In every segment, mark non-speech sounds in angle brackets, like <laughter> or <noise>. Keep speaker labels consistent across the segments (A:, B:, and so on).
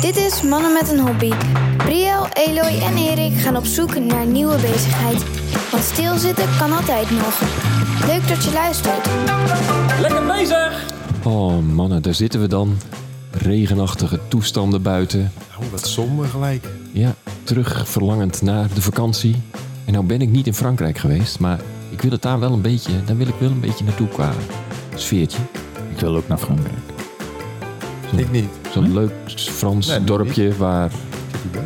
A: Dit is Mannen met een Hobby. Briel, Eloy en Erik gaan op zoek naar nieuwe bezigheid. Want stilzitten kan altijd nog. Leuk dat je luistert.
B: Lekker bezig!
C: Oh mannen, daar zitten we dan. Regenachtige toestanden buiten.
D: Oh, wat somber gelijk.
C: Ja, terug verlangend naar de vakantie. En nou ben ik niet in Frankrijk geweest, maar ik wil het daar wel een beetje, daar wil ik wel een beetje naartoe qua sfeertje.
E: Ik wil ook naar Frankrijk.
D: Ik niet.
C: Zo'n
E: Hm?
C: leuk Frans
D: Nee, doe
C: dorpje waar
D: Ik doe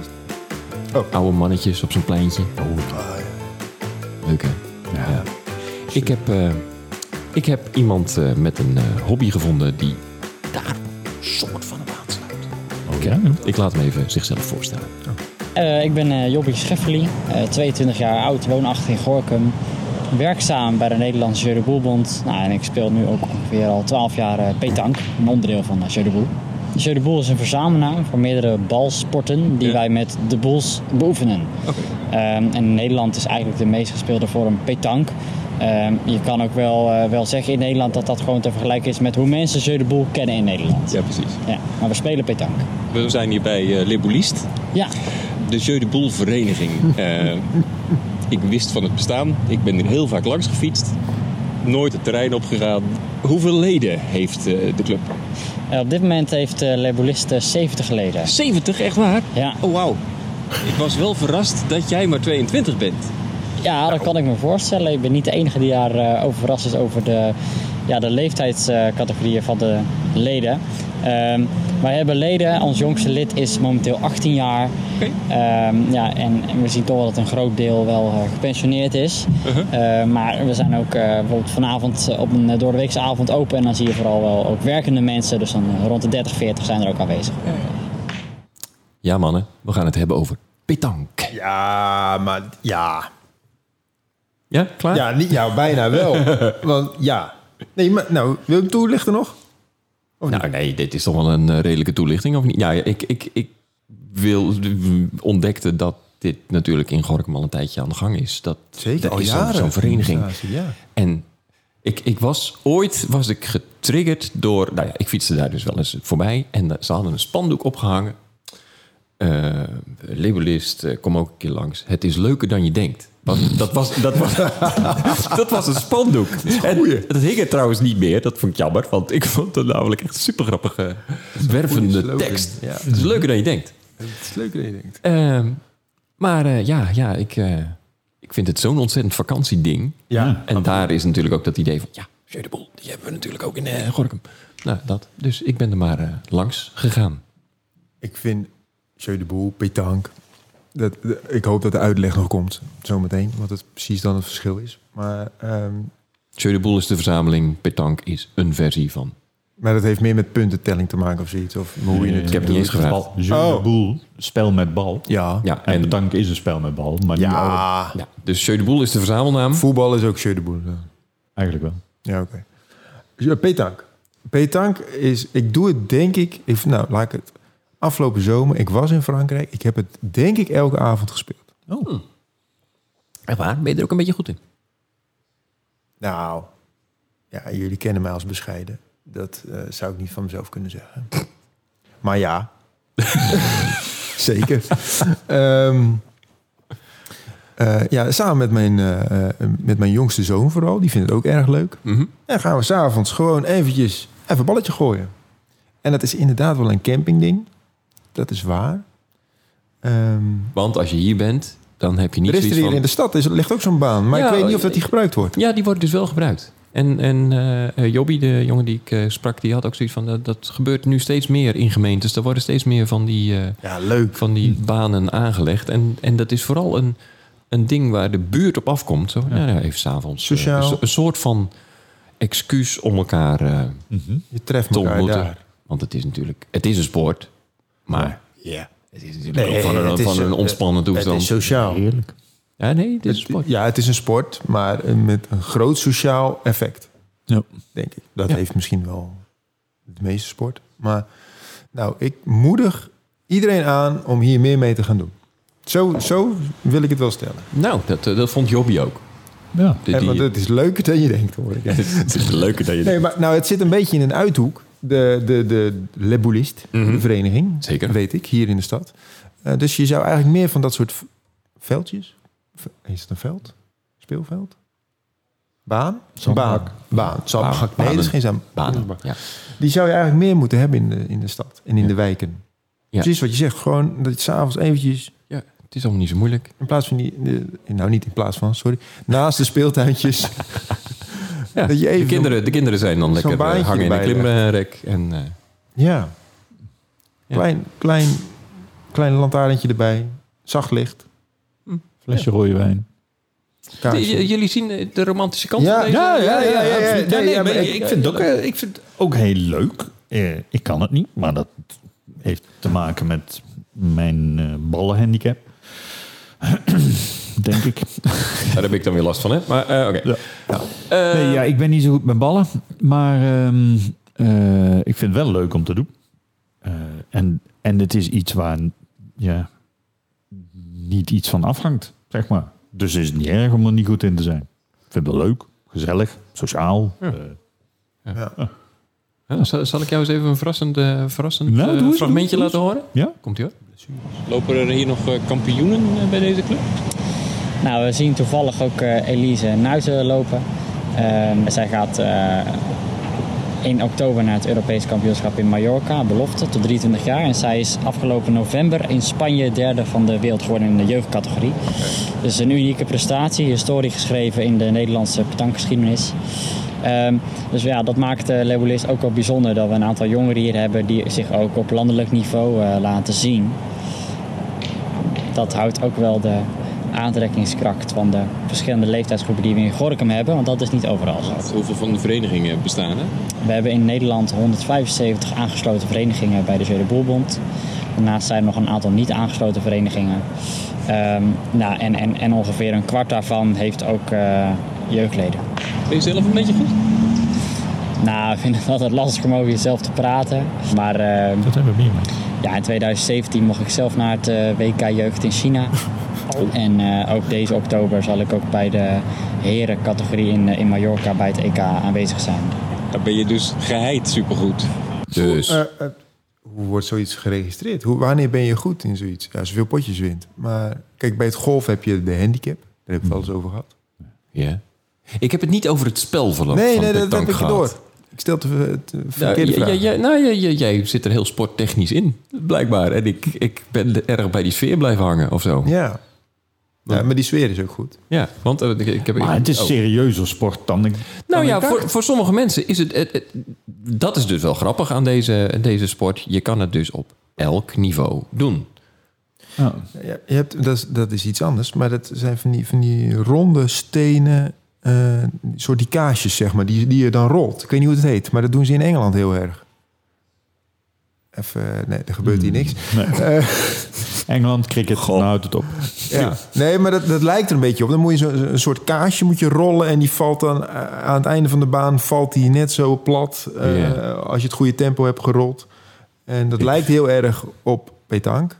D: best.
C: oude mannetjes op zo'n pleintje. Leuk hè?
E: Oh, Ja.
C: Ik heb, eh, ik heb iemand eh, met een eh, hobby gevonden die daar soort van op aansluit.
E: Oh, ja? ja.
C: Ik laat hem even zichzelf voorstellen.
F: Eh, ik ben eh Jobby Scheffeli, eh, 22 jaar oud, woonachtig in Gorkum. Werkzaam bij de Nederlandse Jeu de Boel Bond. Nou, en ik speel nu ook ongeveer al 12 jaar eh petank, een onderdeel van de Jeu de Boel. De Jeu de Boel is een verzamelnaam voor meerdere balsporten die wij met de boels beoefenen. Ehm, en in Nederland is eigenlijk de meest gespeelde vorm petank. Ehm, je kan ook wel, eh, wel zeggen in Nederland dat dat gewoon te vergelijken is met hoe mensen Jeu de Boel kennen in Nederland.
G: Ja, precies.
F: Ja, maar we spelen petank.
G: We zijn hier bij eh Le Boulist,
F: Ja,
G: de Jeu de Boel vereniging. <laughs> Eh, ik wist van het bestaan. Ik ben er heel vaak langs gefietst. Nooit het terrein opgegaan. Hoeveel leden heeft eh, de club?
F: Eh, op dit moment heeft de Lebolisten 70 leden.
G: 70, echt waar?
F: Ja.
G: Oh, wauw. Ik was wel verrast dat jij maar 22 bent.
F: ja, dat kan ik me voorstellen. Ik ben niet de enige die daar eh, over verrast is over de, ja, de leeftijdscategorieën van de leden. Ehm, wij hebben leden, ons jongste lid is momenteel 18 jaar.
G: Oké.
F: Ehm, ja, en, en we zien toch wel dat een groot deel wel eh, gepensioneerd is. Eh, maar we zijn ook eh, bijvoorbeeld vanavond eh, op een eh, doordeweekse avond open. En dan zie je vooral wel ook werkende mensen. Dus dan eh, rond de 30, 40 zijn er ook aanwezig.
C: Ja mannen, we gaan het hebben over petank.
D: Ja, maar ja.
C: Ja, klaar?
D: Ja, niet, ja bijna <laughs> wel. Want ja. Nee, maar nou, wil je hem toelichten nog?
C: Nou nee, dit is toch wel een eh, redelijke toelichting, of niet? Ja, ik, ik, ik wil, ontdekte dat dit natuurlijk in Gorkum al een tijdje aan de gang is. Dat, dat is zo'n- Zo'n vereniging.
D: Ja.
C: En ik, ik was ooit was ik getriggerd door. Nou ja, ik fietste daar dus wel eens voorbij. En eh, ze hadden een spandoek opgehangen. Eh labelist, eh, kom ook een keer langs. Het is leuker dan je denkt. Want dat, was, dat, was, <laughs> dat was een spandoek. en dat hing er trouwens niet meer. Dat vond ik jammer. Want ik vond het namelijk echt super grappige, wervende
D: slogan,
C: tekst.
D: ja.
C: Het is leuker dan je denkt.
D: Het is leuker dan je denkt.
C: Ehm, maar eh, ja, ja ik, eh, ik vind het zo'n ontzettend vakantieding.
D: Ja.
C: En daar is natuurlijk ook dat idee van... ja, Jeu de Boel, die hebben we natuurlijk ook in eh, Gorkum. Nou, dat. Dus ik ben er maar eh, langs gegaan.
D: Ik vind Jeu de Boel, petank. Dat, de- ik hoop dat de uitleg nog komt, zometeen. Want het precies dan het verschil is. Maar, ehm,
C: Jeu de Boel is de verzameling. Petank is een versie van.
D: maar dat heeft meer met puntentelling te maken of zoiets. Of hoe je het...
C: Ik heb het niet eens gevraagd.
D: Oh.
E: Jeu de boel, spel met bal.
D: Ja.
C: Ja,
E: En
C: en,
E: tank is een spel met bal, maar niet alle-
D: ja.
C: ja, dus Jeu de Boel is de verzamelnaam.
D: Voetbal is ook Jeu de Boel. ja.
E: eigenlijk wel.
D: Ja, oké. Ja, Petank. Petank is, ik doe het denk ik, ik- nou laat ik het. Afgelopen zomer, ik was in Frankrijk, ik heb het denk ik elke avond gespeeld.
C: Oh. Echt waar? Ben je er ook een beetje goed in?
D: Nou, ja, jullie kennen mij als bescheiden. Dat eh, zou ik niet van mezelf kunnen zeggen. Maar ja, <laughs> zeker. Ehm, eh, ja, samen met mijn, eh, eh, met mijn jongste zoon vooral, die vindt het ook erg leuk.
C: Mhm.
D: En gaan we s'avonds gewoon eventjes even een balletje gooien. En dat is inderdaad wel een campingding. Dat is waar. Ehm,
C: Want als je hier bent, dan heb je niet
D: er is er
C: zoiets
D: hier
C: van...
D: in de stad, is, ligt ook zo'n baan. Maar
C: Ja, eh,
D: ik weet niet of dat die gebruikt wordt.
C: Ja, die worden dus wel gebruikt. En, en eh, eh, Jobby, de jongen die ik eh, sprak, die had ook zoiets van... dat, dat gebeurt nu steeds meer in gemeentes. Er worden steeds meer van die, eh,
D: Ja, leuk.
C: van die banen aangelegd. En, en dat is vooral een, een ding waar de buurt op afkomt. Zo, ja. ja, even s'avonds. eh,
D: Sociaal.
C: een so- een soort van excuus om elkaar eh,
D: Je treft
C: te
D: elkaar
C: ontmoeten.
D: daar.
C: Want het is natuurlijk... Het is een sport, maar... Het is natuurlijk
D: Nee,
C: ook van een,
D: het is
C: van een
D: zo-
C: ontspannen
D: Het is
C: toestand.
D: sociaal.
E: Heerlijk.
C: Ja, nee, het is een
D: Het-
C: sport.
D: ja, het is een sport, maar eh, met een groot sociaal effect,
E: Ja.
D: denk ik. Dat heeft misschien wel de meeste sport. Maar nou, ik moedig iedereen aan om hier meer mee te gaan doen. Zo, zo wil ik het wel stellen.
C: Nou, dat, eh, dat vond Jobby ook.
E: Ja.
C: Die-
D: Eh, want
C: die-
D: het is leuker dan je denkt, hoor ik.
C: Het is leuker dat je
E: <laughs>
D: Nee, maar nou, het zit een beetje in een uithoek. de, de, de Le Boulist, de vereniging.
C: Mhm. Zeker.
D: Weet ik, hier in de stad. Eh, dus je zou eigenlijk meer van dat soort v- veldjes... V- Is het een veld? Speelveld? Baan?
E: Zandbak.
D: Baan. Baan. Zandbak.
C: Baan.
D: Nee, dat is geen zand-
C: Banen. Ja.
D: Die zou je eigenlijk meer moeten hebben in de, in de stad en in de wijken.
C: Ja.
D: Precies wat je zegt. Gewoon dat je s'avonds eventjes...
C: ja, het is allemaal niet zo moeilijk.
D: In plaats van die... de- nou, niet in plaats van, sorry. Naast de
C: <laughs>
D: speeltuintjes.
C: Ja,
D: Dat je even
C: de, kinderen, de kinderen zijn dan lekker eh,
D: baantje
C: hangen in een
D: erbij
C: klimrek. En, eh,
D: Ja.
C: Ja.
D: Klein, klein, klein lantaarntje erbij. Zacht licht.
E: Flesje rode wijn.
D: Kaarsje.
C: J- j- jullie zien eh, de romantische kant
D: Ja,
C: van deze?
D: ja, ja, ja, ja, ja,
C: absoluut.
D: ja,
C: nee,
D: ja,
C: maar
D: maar
C: ik,
D: ik-
C: ik vind het ook... eh,
E: ik vind het ook heel leuk. Eh, ik kan het niet, maar dat heeft te maken met mijn eh, ballenhandicap. <clears throat> Denk ik.
C: daar heb ik dan weer last van, hè? Maar eh, oké.
E: Ja.
C: Eh,
E: Nee, ja, ik ben niet zo goed met ballen. Maar ehm, eh, ik vind het wel leuk om te doen. Eh, en, en het is iets waar ja, niet iets van afhangt, zeg maar. Dus het is niet erg om er niet goed in te zijn. Ik vind het wel leuk, gezellig, sociaal. eh.
C: ja, Eh, zal, zal ik jou eens even een verrassend, eh, verrassend
E: Nou,
C: eh,
E: doe eens,
C: fragmentje
E: doe eens,
C: laten horen?
E: ja?
C: Komt ie hoor.
G: Lopen er hier nog eh, kampioenen eh, bij deze club?
F: Nou, we zien toevallig ook eh, Elise Nuiten lopen. Ehm, zij gaat eh, in oktober naar het Europees kampioenschap in Mallorca, belofte, tot 23 jaar. En zij is afgelopen november in Spanje derde van de wereld geworden in de jeugdcategorie. Dus een unieke prestatie, historie geschreven in de Nederlandse petankgeschiedenis. Ehm, dus ja, dat maakt uh, ook wel bijzonder dat we een aantal jongeren hier hebben die zich ook op landelijk niveau eh, laten zien dat houdt ook wel de aantrekkingskracht van de verschillende leeftijdsgroepen die we in Gorkum hebben, want dat is niet overal zo.
G: Hoeveel van de verenigingen bestaan er?
F: We hebben in Nederland 175 aangesloten verenigingen bij de Zere Boelbond. Daarnaast zijn er nog een aantal niet aangesloten verenigingen. Ehm, nou, en, en, en ongeveer een kwart daarvan heeft ook eh, jeugdleden.
G: Ben je zelf een beetje goed?
F: Nou, <laughs> ik vind het altijd lastig om over jezelf te praten. Maar ehm,
E: Dat hebben we meer mee.
F: Ja, in 2017 mocht ik zelf naar het eh, WK Jeugd in China. En eh, ook deze oktober zal ik ook bij de herencategorie in, eh, in Mallorca bij het EK aanwezig zijn.
G: Daar ben je dus geheid supergoed.
C: Dus,
D: Eh, eh, hoe wordt zoiets geregistreerd? Hoe, wanneer ben je goed in zoiets? Ja, zoveel potjes wint. Maar kijk, bij het golf heb je de handicap. Daar heb ik het al eens over gehad.
C: ja. Ik heb het niet over het spel verloop
D: Nee,
C: van
D: nee, dat
C: petank
D: heb ik je
C: gehad.
D: door. Ik stel te, te
C: Nou,
D: verkeerde
C: jij-
D: vraag.
C: jij- nou, jij- jij- jij zit er heel sporttechnisch in, blijkbaar. En ik, ik ben erg bij die sfeer blijven hangen of zo. Ja,
D: Ja. Ja, maar die sfeer is ook goed.
C: want eh, ik, ik heb...
E: Maar het is
C: oh.
E: serieuzer sport dan ik...
C: Nou ja, voor, voor sommige mensen is het, het- het- Dat is dus wel grappig aan deze, deze sport. Je kan het dus op elk niveau doen.
E: Oh,
D: Ja, je hebt, dat, is, dat is iets anders, maar dat zijn van die, van die ronde stenen, eh, soort die kaasjes, zeg maar, die, die je dan rolt. Ik weet niet hoe het heet, maar dat doen ze in Engeland heel erg. Even, nee, er gebeurt hier niks.
E: Engeland, cricket, nou houdt het op.
D: Ja. Nee, maar dat, dat lijkt er een beetje op. Dan moet je zo, zo- een soort kaasje moet je rollen en die valt dan eh, aan het einde van de baan valt die net zo plat eh,
C: Ja.
D: als je het goede tempo hebt gerold. En dat lijkt heel erg op petank.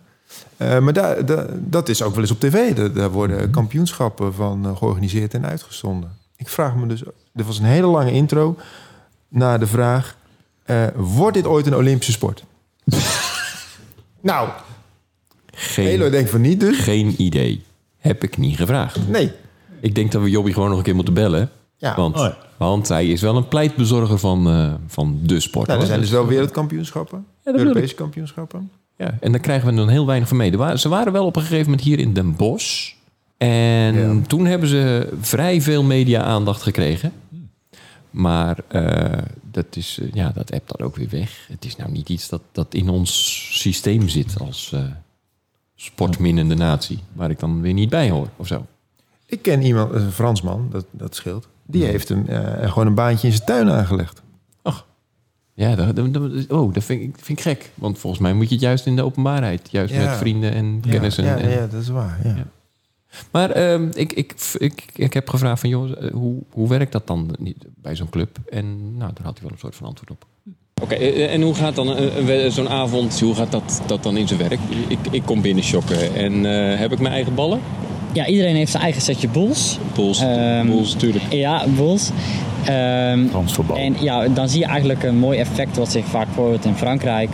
D: Eh, maar daar, daar- dat is ook wel eens op tv. Daar, daar worden kampioenschappen van eh, georganiseerd en uitgezonden. Ik vraag me dus... Er was een hele lange intro naar de vraag... eh, wordt dit ooit een Olympische sport? nou, Elo
C: Geen,
D: denkt van
C: <laughs>
D: niet dus.
C: geen idee. Heb ik niet gevraagd.
D: Nee.
C: Ik denk dat we Jobby gewoon nog een keer moeten bellen.
D: Ja.
C: Want,
E: Oh ja.
C: want hij is wel een pleitbezorger van, eh, van de sport.
D: Nou,
C: hoor.
D: er zijn dus wel wereldkampioenschappen,
C: bedoel
D: Europese kampioenschappen.
C: Ja, en daar krijgen we dan heel weinig van mee. Er wa- Ze waren wel op een gegeven moment hier in Den Bosch. En
D: Ja.
C: toen hebben ze vrij veel media-aandacht gekregen. Maar eh, dat, is, eh, ja, dat appt dan ook weer weg. Het is nou niet iets dat, dat in ons systeem zit als eh, sportminnende natie. Waar ik dan weer niet bij hoor of zo.
D: Ik ken iemand, dat is een Fransman, dat, dat scheelt. Die heeft hem eh, gewoon een baantje in zijn tuin aangelegd.
C: Ach, ja, dat, dat- dat- oh, dat vind ik, vind ik gek. Want volgens mij moet je het juist in de openbaarheid. Juist
D: Ja.
C: met vrienden en kennissen.
D: ja,
C: en-
D: ja, dat is waar. Ja.
C: Ja. Maar ehm, ik, ik, ik, ik heb gevraagd van, joh, eh, hoe, hoe werkt dat dan niet bij zo'n club? En nou, daar had hij wel een soort van antwoord op.
G: Oké, eh, en hoe gaat dan een- een we- zo'n avond, hoe gaat dat, dat dan in zijn werk? Ik, ik kom binnen shocken en eh, heb ik mijn eigen ballen?
F: ja, iedereen heeft zijn eigen setje boels.
G: Pools,
F: Ehm,
G: pools natuurlijk.
F: Ja, boels. Ehm,
E: Transverbouw.
F: en ja, dan zie je eigenlijk een mooi effect wat zich vaak voordoet in Frankrijk.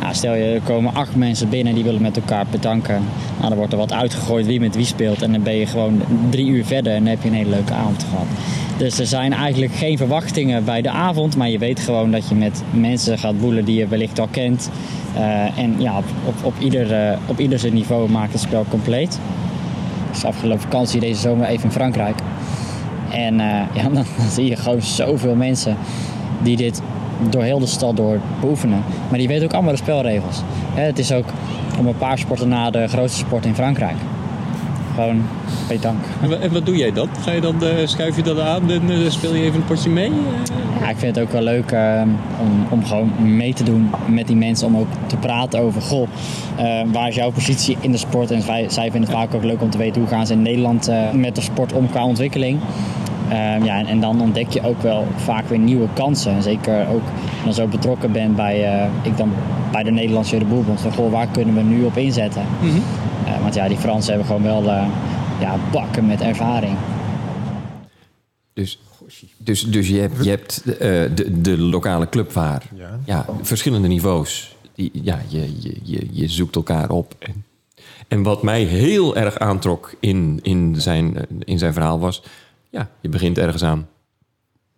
F: Nou, stel je, er komen acht mensen binnen die willen met elkaar bedanken. Nou, dan wordt er wat uitgegooid wie met wie speelt. En dan ben je gewoon drie uur verder en heb je een hele leuke avond gehad. Dus er zijn eigenlijk geen verwachtingen bij de avond. Maar je weet gewoon dat je met mensen gaat boelen die je wellicht al kent. Eh, en ja, op, op, op, ieder, eh, op ieder zijn niveau maakt het spel compleet. Dus afgelopen vakantie deze zomer even in Frankrijk. En eh, <laughs> ja, dan, dan zie je gewoon zoveel mensen die dit door heel de stad door beoefenen. Maar die weten ook allemaal de spelregels. Hè, het is ook om een paar sporten na de grootste sport in Frankrijk. Gewoon petank.
G: En, wa- en wat doe jij dan? Ga je dan, eh, schuif je dat aan en eh, speel je even een potje mee?
F: Ja, ik vind het ook wel leuk eh, om, om gewoon mee te doen met die mensen. Om ook te praten over, goh, eh, waar is jouw positie in de sport? En wij, zij vinden het vaak ook leuk om te weten hoe gaan ze in Nederland eh, met de sport om qua ontwikkeling. Eh, ja, en, en dan ontdek je ook wel vaak weer nieuwe kansen. En zeker ook als je dan zo betrokken bent bij, eh, ik dan, bij de Nederlandse Boerbond. Van, goh, waar kunnen we nu op inzetten? Eh, want ja, die Fransen hebben gewoon wel eh, ja, bakken met ervaring.
C: Dus, dus, dus je hebt, je hebt eh, de, de lokale club waar ja. verschillende niveaus. Die, ja, je, je, je, je zoekt elkaar op. En, en wat mij heel erg aantrok in, in, zijn, eh, in zijn verhaal was... Ja, je begint ergens aan.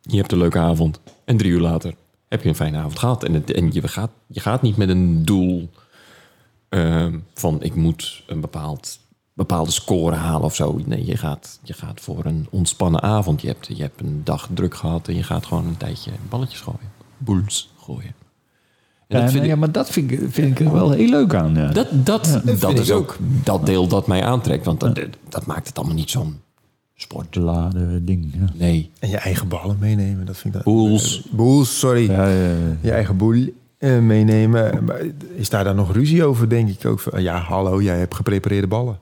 C: Je hebt een leuke avond. En drie uur later heb je een fijne avond gehad. En, het, en je, gaat, je gaat niet met een doel ehm, van... ik moet een bepaald bepaalde score halen of zo. Nee, je gaat, je gaat voor een ontspannen avond. Je hebt, je hebt een dag druk gehad en je gaat gewoon een tijdje balletjes gooien. Boels gooien. En
E: Ja,
C: dat, vind
E: nou ja,
C: ik,
E: maar dat vind ik, vind ik er wel heel leuk aan. Ja.
C: dat, dat, dat,
D: vind
C: is
D: ik
C: ook dat deel dat mij aantrekt. Want dat, dat maakt het allemaal niet zo'n sport.
E: lade ding. Ja.
C: Nee.
D: En je eigen ballen meenemen, dat vind ik... dat-
C: Boels.
D: Boels, sorry.
E: Ja, ja, ja.
D: Je eigen boel eh, meenemen. Maar Is daar dan nog ruzie over, denk ik ook? Van, ja, hallo, jij hebt geprepareerde ballen.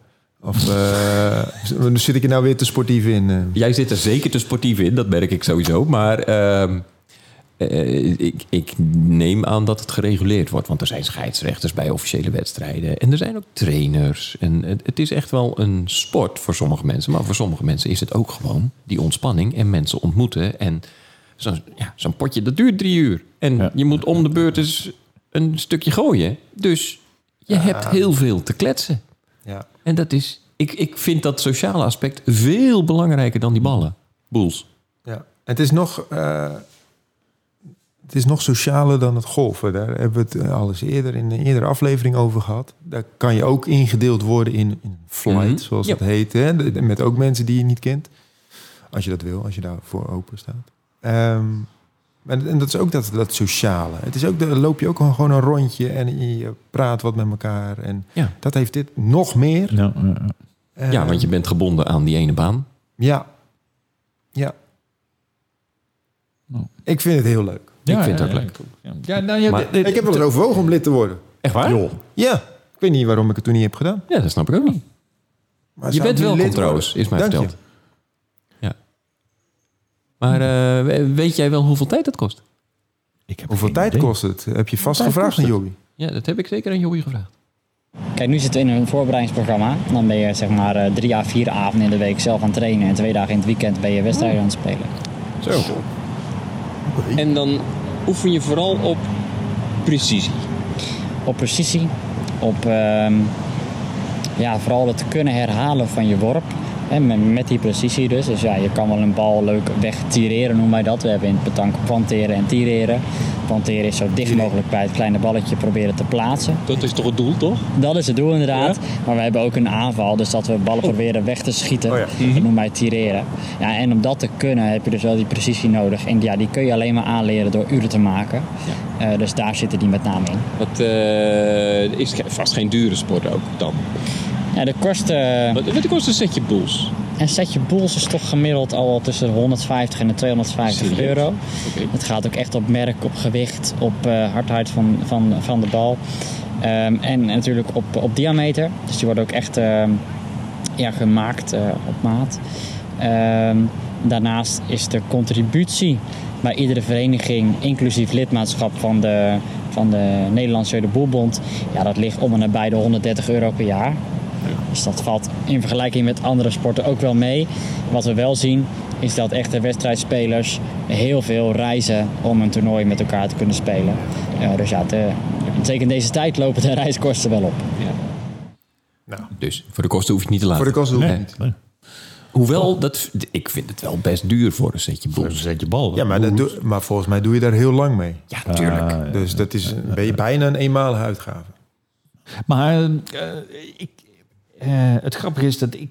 D: Of eh, <laughs> zit ik er nou weer te sportief in? eh?
C: Jij zit er zeker te sportief in, dat merk ik sowieso. Maar ehm, eh, ik, ik neem aan dat het gereguleerd wordt. Want er zijn scheidsrechters bij officiële wedstrijden. En er zijn ook trainers. En het, het is echt wel een sport voor sommige mensen. Maar voor sommige mensen is het ook gewoon die ontspanning en mensen ontmoeten. En zo'n ja, zo'n potje, dat duurt drie uur. En
E: Ja.
C: je moet om de beurt eens een stukje gooien. Dus je hebt heel veel te kletsen.
D: Ja.
C: En dat is, ik, ik vind dat sociale aspect veel belangrijker dan die ballen. Boels.
D: Ja. Het is nog... eh, het is nog socialer dan het golven. Daar hebben we het eh, al eens eerder in een eerdere aflevering over gehad. Daar kan je ook ingedeeld worden in, in flight,
C: Mhm.
D: zoals
C: Ja.
D: dat heet. Hè? De- de- Met ook mensen die je niet kent. Als je dat wil, als je daarvoor open staat. Ehm, en, en dat is ook dat, dat sociale. Het is ook, de- dan loop je ook gewoon gewoon een rondje en je praat wat met elkaar. En
C: Ja.
D: dat heeft dit nog meer. Eh,
E: Ja, ja, ja.
D: Ehm.
C: Ja, want je bent gebonden aan die ene baan.
D: Ja. Ja.
E: Nou.
D: Ik vind het heel leuk.
E: Ja,
C: ik vind
E: ja,
C: het ook
E: ja,
C: leuk.
E: Ja, Ja, nou, ja,
C: Maar-
E: dit- dit-
D: Ik heb wel eens overwogen om lid te worden.
C: Echt waar?
D: Ja, ik weet niet waarom ik het toen niet heb gedaan.
C: Ja, dat snap ik ook niet.
D: Maar
C: Je
D: zou
C: bent
D: ik
C: welkom
D: nu lid worden?
C: trouwens, is mij
D: Dank je.
C: verteld. Ja. Maar eh, we- weet jij wel hoeveel tijd dat kost?
E: ik heb
D: Hoeveel
E: geen
D: tijd
E: idee.
D: kost het? Heb je vast
E: Tijd
D: gevraagd
E: kost
D: aan
E: het?
D: Jobby?
C: Ja, dat heb ik zeker aan Joey gevraagd.
F: Kijk, nu zitten we in een voorbereidingsprogramma. Dan ben je zeg maar eh, drie à vier avonden in de week zelf aan het trainen. En twee dagen in het weekend ben je wedstrijden aan het spelen.
G: Zo. En dan oefen je vooral op precisie.
F: Op precisie, op ehm, ja, vooral het kunnen herhalen van je worp. Hè, met, met die precisie dus. Dus ja, je kan wel een bal leuk wegtireren, noemen wij dat. We hebben in het petank planteren en tireren. Planteren is zo dicht mogelijk bij het kleine balletje proberen te plaatsen.
G: Dat is toch het doel, toch?
F: Dat is het doel inderdaad. Maar we hebben ook een aanval. Dus dat we ballen proberen weg te schieten.
D: Oh ja.
F: Dat noemen wij tireren. Ja, en om dat te kunnen heb je dus wel die precisie nodig. En ja, die kun je alleen maar aanleren door uren te maken. Eh, dus daar zitten die met name in.
G: Dat eh, is ge- vast geen dure sport ook dan.
F: Ja, de kost, eh,
G: Wat, wat kost een setje boels?
F: een setje boels is toch gemiddeld al wel tussen de 150 en de 250
G: Serieus?
F: euro.
G: Oké.
F: Het gaat ook echt op merk, op gewicht, op eh, hardheid van, van, van de bal. Ehm, en natuurlijk op, op diameter. Dus die wordt ook echt ehm, ja, gemaakt eh, op maat. Ehm, daarnaast is de contributie bij iedere vereniging, inclusief lidmaatschap van de, van de Nederlandse Boelbond, ja, dat ligt om en nabij de 130 euro per jaar. Dus dat valt in vergelijking met andere sporten ook wel mee. Wat we wel zien is dat echte wedstrijdspelers heel veel reizen om een toernooi met elkaar te kunnen spelen. Eh, dus ja, de, zeker in deze tijd lopen de <laughs> reiskosten wel op.
C: Dus voor de kosten hoef je het niet te laten.
D: Voor de kosten hoef je
C: Nee.
D: niet.
C: Hoewel, dat, ik vind het wel best duur voor een setje
E: Voor een
C: boels.
E: zetje bal.
D: Ja, maar, dat doe- maar volgens mij doe je daar heel lang mee.
C: Ja, natuurlijk.
D: Dus dat is een- ben je bijna een eenmalige uitgave.
E: Maar eh, ik, eh, het grappige is dat ik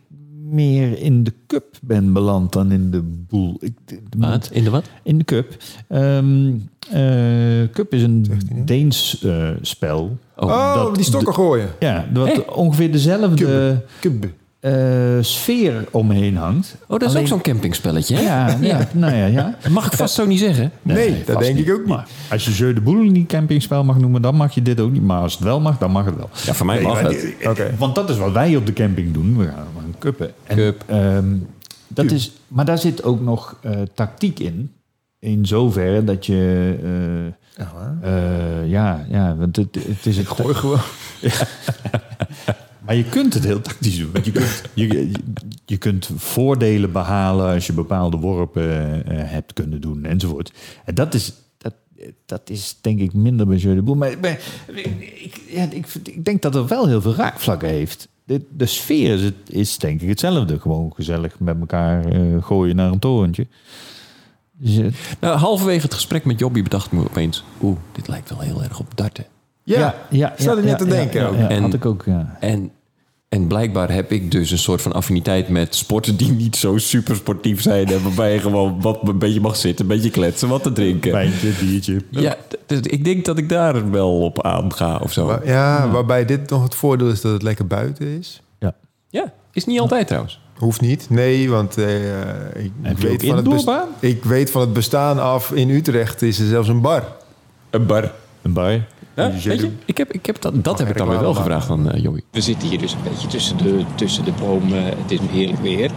E: meer in de cup ben beland dan in de boel. Ik, de-
C: Wat? In de wat? Oh,
E: In de cup. Ehm, eh, cup is een
D: hij nu?
E: Deens eh, spel.
C: Oh,
D: Oh,
E: dat-
D: die stokken gooien.
E: Ja, wat
C: Hey.
E: ongeveer dezelfde
D: Kubbe.
E: eh, sfeer omheen hangt.
C: Oh, dat is
E: Alleen-
C: ook zo'n campingspelletje, hè?
E: Ja, <laughs> ja, nou ja, ja.
C: Mag ik vast zo niet zeggen?
D: Nee, dat
C: vast
D: denk
C: niet.
D: ik ook niet.
E: Maar als je Jeu de Boel niet campingspel mag noemen, dan mag je dit ook niet. Maar als het wel mag, dan mag het wel.
C: Ja, voor mij mag het.
D: Oké.
E: Want dat is wat wij op de camping doen. We gaan, we gaan cuppen. En,
C: Cup.
E: ehm, dat is, maar daar zit ook nog eh, tactiek in. In zoverre dat je... eh,
D: Ja, hoor.
E: eh, ja, ja, want het, het is het...
D: Gooi
E: <laughs>
D: gewoon.
E: Maar je kunt het heel tactisch doen. Want je kunt, je, je- je kunt voordelen behalen als je bepaalde worpen eh, hebt kunnen doen enzovoort. En dat is, dat, dat is denk ik minder bij Jeu de Boel. Maar, maar ik, ja, ik, vind- ik denk dat het wel heel veel raakvlakken heeft. De, de sfeer is, het, is denk ik hetzelfde. Gewoon gezellig met elkaar eh, gooien naar een torentje. Dus, eh,
C: Nou, halverwege het gesprek met Jobby bedacht ik me opeens... Oeh, dit lijkt wel heel erg op darten.
D: Ja,
E: ja,
D: zat ik net te denken
E: ja,
D: ook.
E: ja,
C: En-
E: had ik ook, ja.
C: En, en blijkbaar heb ik dus een soort van affiniteit met sporten die niet zo super sportief zijn. En waarbij je gewoon wat een beetje mag zitten, een beetje kletsen, wat te drinken.
E: Wijntje, biertje.
C: Ja, d- dus ik denk dat ik daar wel op aanga of zo.
D: Waar- ja, waarbij dit nog het voordeel is dat het lekker buiten is.
E: Ja.
C: Ja, is niet altijd trouwens.
D: Hoeft niet. Nee, want eh, ik,
E: Heb je ook
D: weet van het bes-
E: indoorbaan?
D: ik weet van het bestaan af in Utrecht is er zelfs een bar.
C: Een bar.
E: Een bar.
C: Ja, weet je, ik heb, ik heb dat, dat heb ik dan weer wel gevraagd aan eh Jobby.
G: We zitten hier dus een beetje tussen de, tussen de bomen. Het is heerlijk weer.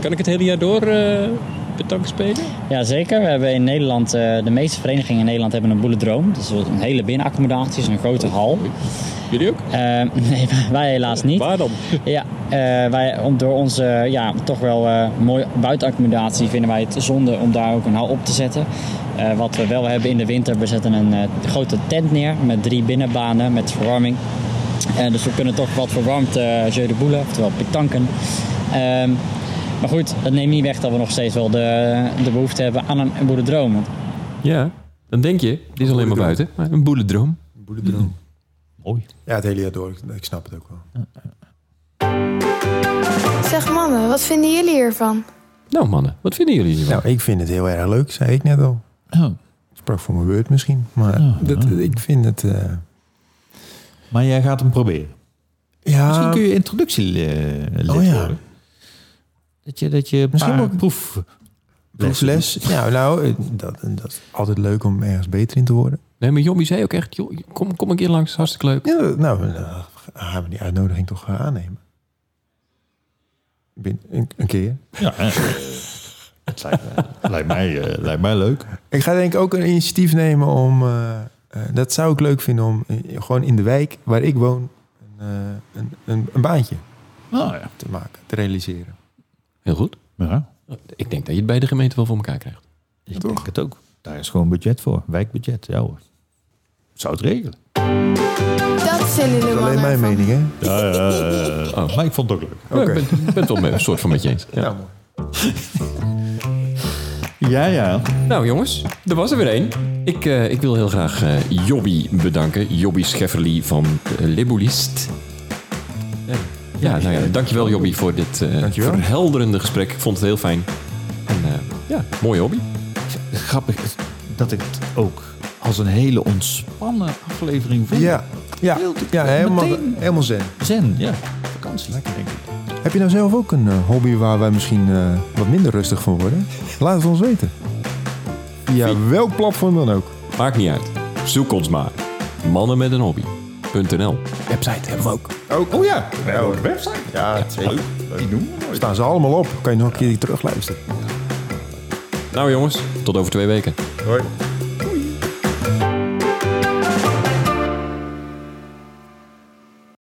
G: Kan ik het hele jaar door eh betank spelen?
F: Jazeker, we hebben in Nederland, eh, de meeste verenigingen in Nederland hebben een boelendroom. Dat is een hele binnenaccommodatie, is een grote hal.
G: Jullie ook?
F: Eh, <laughs> nee, wij helaas niet.
G: Waar dan?
F: <laughs> Ja, eh, wij, om, door onze ja, toch wel eh, mooie buitenaccommodatie vinden wij het zonde om daar ook een hal op te zetten. Eh, wat we wel hebben in de winter, we zetten een eh, grote tent neer met drie binnenbanen met verwarming. Eh, dus we kunnen toch wat verwarmd eh jeu de boule, oftewel petanken. Ehm, maar goed, dat neemt niet weg dat we nog steeds wel de, de behoefte hebben aan een boerendroom. Want
C: Ja, dan denk je, dit is alleen maar buiten. Maar een boelendroom.
D: Boelendroom.
E: Mooi.
D: Ja, het hele jaar door. Ik- Ik snap het ook wel.
A: Zeg mannen, wat vinden jullie hiervan?
C: Nou mannen, wat vinden jullie hiervan?
D: Nou, ik vind het heel erg leuk, zei ik net al.
E: Oh.
D: Ik sprak voor mijn beurt misschien. Maar dat, ik vind het... eh,
E: Maar jij gaat hem proberen.
D: ja,
E: Misschien kun je introductie eh, lid
D: Oh ja.
E: worden. Dat je, dat je
D: Misschien
E: paar
D: ook-
E: proef... <laughs>
D: proefles. Ja, nou, eh, dat, dat is altijd leuk om ergens beter in te worden.
C: Nee, maar Jobby zei ook echt, joh, kom, kom een keer langs, hartstikke leuk.
D: Ja, dat- nou, dan gaan we die uitnodiging toch eh, aannemen. Bin- Een, een keer.
E: Ja, eh, het lijkt, me- lijkt, mij, eh, lijkt mij leuk.
D: Ik ga denk ik ook een initiatief nemen om... eh, eh, dat zou ik leuk vinden om eh, gewoon in de wijk waar ik woon... Een, eh, een, een, een baantje
E: Nou ja.
D: te maken, te realiseren.
C: Heel goed.
E: ja
C: Ik denk dat je het bij de gemeente wel voor elkaar krijgt.
E: Dus ik denk het ook. Daar is gewoon budget voor. Wijkbudget, ja hoor. Zou het regelen.
A: Dat vinden
D: Dat
A: jullie
D: is alleen
A: mannen
D: mijn
A: ervan.
D: mening, hè?
E: Ja, ja, ja, ja. Maar ik vond het ook leuk.
C: Ja, Nou, Ik ben, ik ben het wel mee, een soort van met je eens. Ja.
D: Nou, mooi.
E: Ja, ja.
C: Nou jongens, er was er weer één. Ik, eh, ik wil heel graag eh, Jobby bedanken. Jobby Schefferly van eh, Libulist. Eh, ja, nou ja, dankjewel Jobby voor dit eh,
D: Dankjewel.
C: verhelderende gesprek. Ik vond het heel fijn. En eh, ja, mooi hobby.
E: Grappig is dat ik het ook als een hele ontspannen aflevering vind.
D: Ja, ja,
E: Heel-
D: ja helemaal,
E: meteen.
D: helemaal zen.
E: Zen, ja. Vakantie. Lekker denk ik.
D: Heb je nou zelf ook een eh, hobby waar wij misschien eh, wat minder rustig van worden? Laat het ons weten. Via welk platform dan ook.
C: Maakt niet uit. Zoek ons maar. Mannen met een hobby.nl. Website hebben we ook.
D: Ook. Oh ja, wel een website. Ja, zeker. Die doen Staan ze allemaal op. Kan je nog een keer die terugluisteren.
C: Nou jongens, tot over twee weken.
D: Hoi.